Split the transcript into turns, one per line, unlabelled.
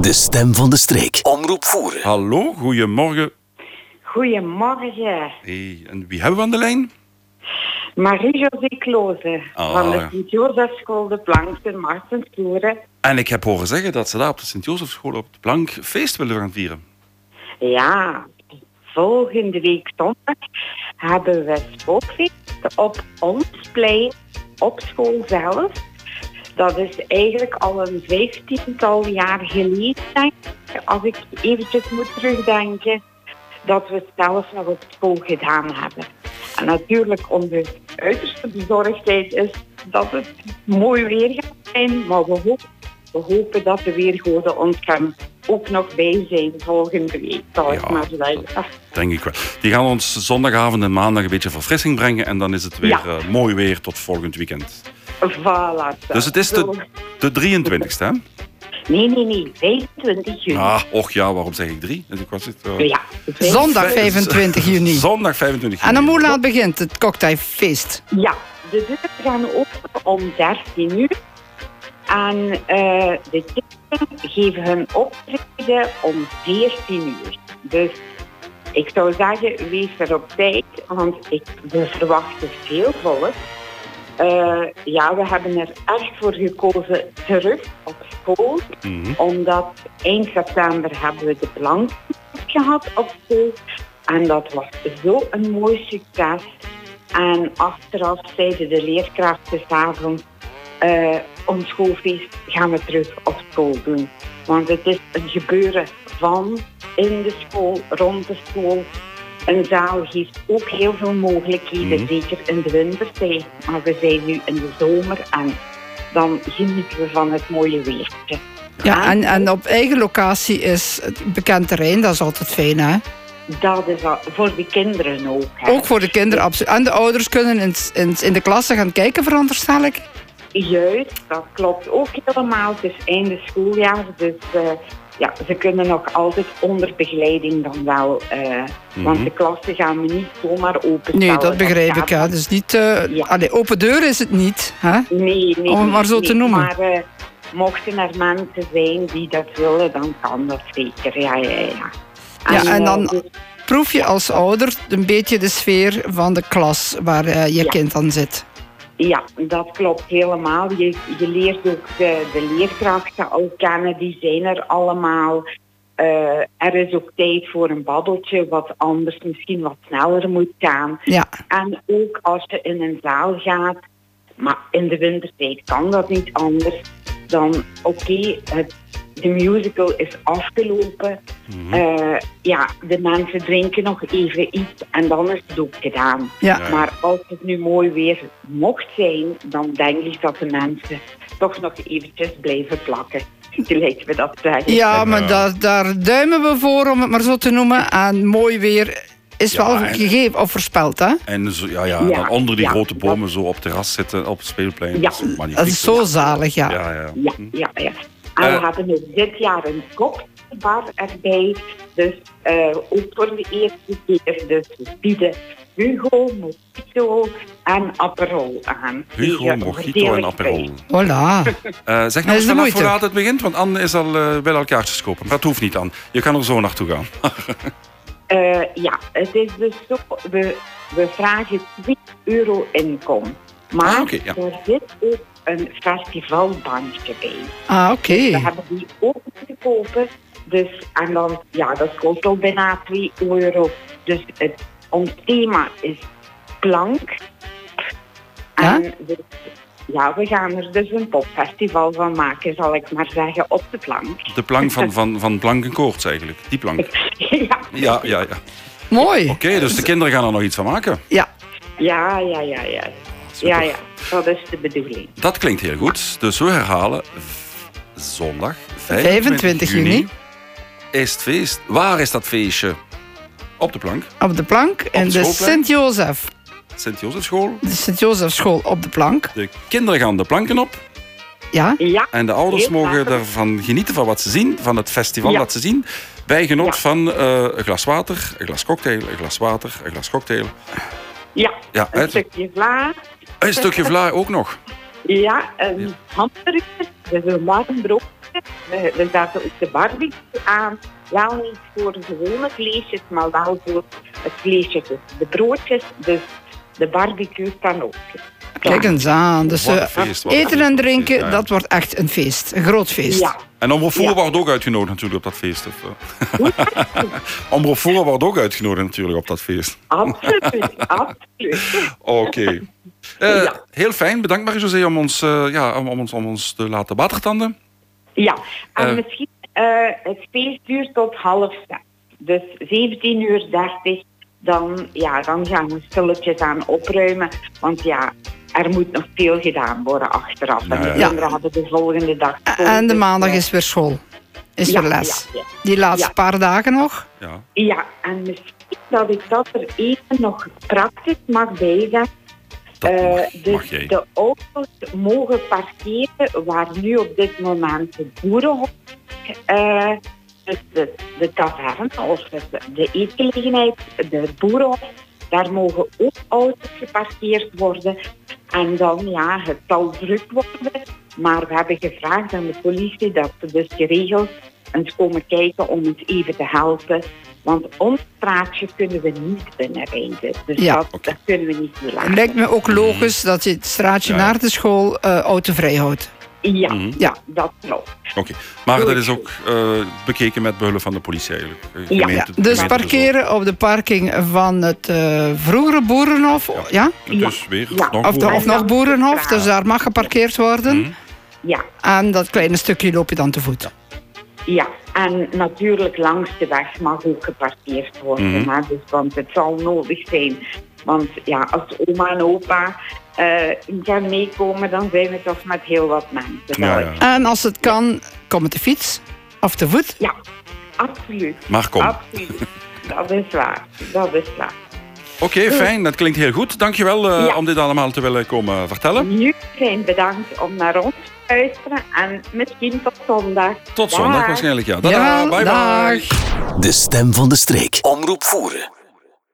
De stem van de streek. Omroep voeren.
Hallo, goedemorgen.
Goedemorgen,
Hey, en wie hebben we aan de lijn?
Marie-José Kloze
Ah.
van de Sint-Jozefschool De Plank in Martenstoeren.
En ik heb horen zeggen dat ze daar op de Sint-Jozefschool op de Plank feest willen gaan vieren.
Ja, volgende week zondag hebben we spookfeest op ons plein, op school zelf. Dat is eigenlijk al een vijftiental jaar geleden, denk ik, als ik eventjes moet terugdenken, dat we het zelf nog op school gedaan hebben. En natuurlijk onze uiterste bezorgdheid is dat het mooi weer gaat zijn, maar we hopen, we hopen dat de weergoden ons gaan ook nog bij zijn volgende week, zal ik
Ja,
maar zeggen.
Denk ik wel. Die gaan ons zondagavond en maandag een beetje verfrissing brengen. En dan is het weer
Ja.
eh, mooi weer tot volgend weekend.
Voilà. dat
Dus het is
zullen
de, de 23 e hè?
we- Nee, nee, nee, 25 juni.
Ah, och ja, waarom zeg ik drie? Ik was het, eh,
Ja.
Zondag 25 juni.
Zondag 25
En
juni.
om hoe laat begint het cocktailfeest?
Ja, de deuren gaan open om 13 uur. En eh, de kinderen geven hun optreden om 14 uur. Dus ik zou zeggen, wees er op tijd, want ik, we verwachten veel volk. Eh, ja, we hebben er echt voor gekozen terug op school.
Mhm.
Omdat eind september hebben we de plank gehad op school. En dat was zo'n mooi succes. En achteraf zeiden de leerkrachten s'avonds... eh ons schoolfeest gaan we terug op school doen. Want het is een gebeuren van, in de school, rond de school. Een zaal geeft ook heel veel mogelijkheden, zeker in de wintertijd. Maar we zijn nu in de zomer en dan genieten we van het mooie weer.
Ja, en, en op eigen locatie is het bekend terrein, dat is altijd fijn hè.
Dat is al- voor de kinderen ook. hè.
Ook voor de kinderen absoluut. En de ouders kunnen in, s- in, s- in de klasse gaan kijken, veronderstel ik.
Juist, dat klopt ook helemaal. Het is einde schooljaar, dus eh, ja, ze kunnen nog altijd onder begeleiding dan wel. eh, Want de klassen gaan we niet zomaar openstellen.
Nee, dat begrijp ik.
gaat
Hè. Dus niet, eh,
Ja.
allee, open deur is het niet. Hè?
Nee, nee.
Om het
nee,
maar zo
nee.
te noemen.
Maar eh, mochten er mensen zijn die dat willen, dan kan dat zeker. Ja, ja, ja.
Ja, en
eh,
dan-
dus-
Proef je als ouder een beetje de sfeer van de klas waar eh, je
Ja.
kind dan zit.
Ja, dat klopt helemaal. Je, je leert ook de, de leerkrachten al kennen, die zijn er allemaal. Eh, er is ook tijd voor een babbeltje, wat anders misschien wat sneller moet gaan.
Ja,
En ook als je in een zaal gaat, maar in de wintertijd kan dat niet anders, dan oké, het- de musical is afgelopen.
Mhm.
Eh, ja, de mensen drinken nog even iets en dan is het ook gedaan.
ja.
Ja.
Maar als het nu mooi weer mocht zijn, dan denk ik dat de mensen toch nog eventjes blijven plakken. Gelijk we dat zeggen.
Ja,
En,
maar
eh,
daar, daar duimen we voor, om het maar zo te noemen. En mooi weer is
Ja,
wel
en-
gegeven of voorspeld, hè?
En zo, ja, ja,
Ja,
dan onder die
ja,
grote
dat-
bomen zo op het terras zitten, op het speelplein.
Ja.
Dat is magnifiek.
Dat is zo zalig, ja.
Ja, ja.
Ja, ja, ja. En
Hm. Eh.
we hebben ook dit jaar een cocktailbar erbij. Dus eh, ook voor de eerste keer. Dus we bieden Hugo, Mojito en Aperol aan. eh,
Hugo,
Tegen
Mojito en
onverdeeld
Aperol.
Voilà.
Eh, zeg
Dat
nou eens
is de
vanaf
moeite.
hoe laat het begint, want Anne is al eh wel al kaartjes kopen. Maar dat hoeft niet, Anne. Je kan er zo naartoe gaan.
Eh, ja, het is dus zo, we, we vragen 2 euro inkom. Maar
Ah, oké, ja.
er zit ook een festivalbandje bij.
Ah, oké.
We hebben die ook moeten kopen. Dus, en dan, ja, dat kost al bijna 2 euro. Dus het, ons thema is plank. En we, ja, we gaan er dus een popfestival van maken, zal ik maar zeggen, op de plank.
De plank van, van, van Blankenkoorts eigenlijk. Die plank.
ja.
Ja, ja, ja. Oké,
Mooi.
Eh,
dus de kinderen gaan er nog iets van maken.
Ja,
Ja, ja, ja, ja. Ja, ja, dat is de bedoeling.
Dat klinkt heel goed. Dus we herhalen. v- Zondag 25,
25 juni.
Is het feest. Waar is dat feestje? Op de plank.
op de plank in de
schoolplein?
Sint-Jozef.
Sint-Jozefschool.
De Sint-Jozefschool op de plank.
De kinderen gaan de planken op.
Ja.
Ja,
En de ouders
Heel
mogen
graag.
ervan genieten van wat ze zien, van het festival
Ja.
dat ze zien. Bij genot
Ja.
van eh, een glas water, een glas cocktail, een glas water, een glas cocktail.
ja.
Ja,
Een
het-
stukje vla.
een stukje vla ook nog.
ehm, Ja, een hamburger. Dus een warm brood feestje. We, we zetten ook de barbecue aan. Wel niet voor gewone vleesjes, maar wel voor het vleesje tussen de broodjes. Dus de barbecue kan ook.
Kijk eens aan. Dus
Wat een
eh,
feest, wat een
eten
feest,
en
wat een
drinken,
feest, ja.
dat wordt echt een feest. Een groot feest.
Ja.
En Omroep Voeren
Ja.
wordt ook uitgenodigd natuurlijk op dat feest. Of, eh? Omroep Voeren wordt ook uitgenodigd natuurlijk op dat feest.
Absoluut, absoluut.
Oké. Eh,
Ja.
Heel fijn. Bedankt Marie-José om, ons, eh, ja, om, om ons, om ons te laten watertanden.
Ja, en
Eh.
misschien eh, het feest duurt tot half zes. Dus 17 uur 30, dan, ja, dan gaan we stilletjes aan opruimen. Want ja, er moet nog veel gedaan worden achteraf.
Nou
en
ja.
de kinderen hadden de volgende dag school,
En de
dus,
maandag
eh,
is weer school. Is
Ja,
weer les.
ja, ja.
Die laatste
Ja.
paar dagen nog.
Ja.
Ja, en misschien dat ik dat er even nog praktisch mag bijzetten.
Dat
Eh,
mag-
dus
mag jij.
de auto's mogen parkeren waar nu op dit moment de boerenhof, eh, dus de, de taverne of de, de eetgelegenheid, de boerenhof, daar mogen ook auto's geparkeerd worden. En dan ja, het zal druk worden. Maar we hebben gevraagd aan de politie dat ze dus geregeld eens komen kijken om ons even te helpen. Want ons straatje kunnen we niet binnenrijden. Dus
Ja,
dat,
oké.
dat kunnen we niet doen.
Het lijkt me ook logisch dat je het straatje
Ja, ja.
naar de school eh autovrij houdt.
Ja,
Mhm.
ja, dat klopt.
Oké. Maar dat is ook eh, bekeken met behulp van de politie eigenlijk. Eh,
Ja.
Ja.
gemeente-
Dus
gemeente-
parkeren op de parking van het eh, vroegere boerenhof. Ja.
Dus weer.
Ja.
Nog
Of, de, Mhm.
horen.
of nog boerenhof. Dus daar mag geparkeerd worden.
Ja,
En dat kleine stukje loop je dan te voet.
ja. En natuurlijk langs de weg mag ook geparkeerd worden.
Mhm.
hè, dus, want het zal nodig zijn. Want ja, als oma en opa eh gaan meekomen, dan zijn we toch met heel wat mensen.
Ja, ja.
thuis.
En als het kan, kom met de fiets of te voet.
ja absoluut.
Maar kom. Oké,
Absoluut. Dat is waar. Dat is waar.
fijn. Dat klinkt heel goed. Dankjewel eh
Ja.
om dit allemaal te willen komen vertellen.
Jullie zijn bedankt om naar ons te luisteren. En misschien tot zondag.
Tot zondag
Dag.
waarschijnlijk, ja. Tada,
Ja,
bye bye.
dag.
De stem van de streek. Omroep Voeren.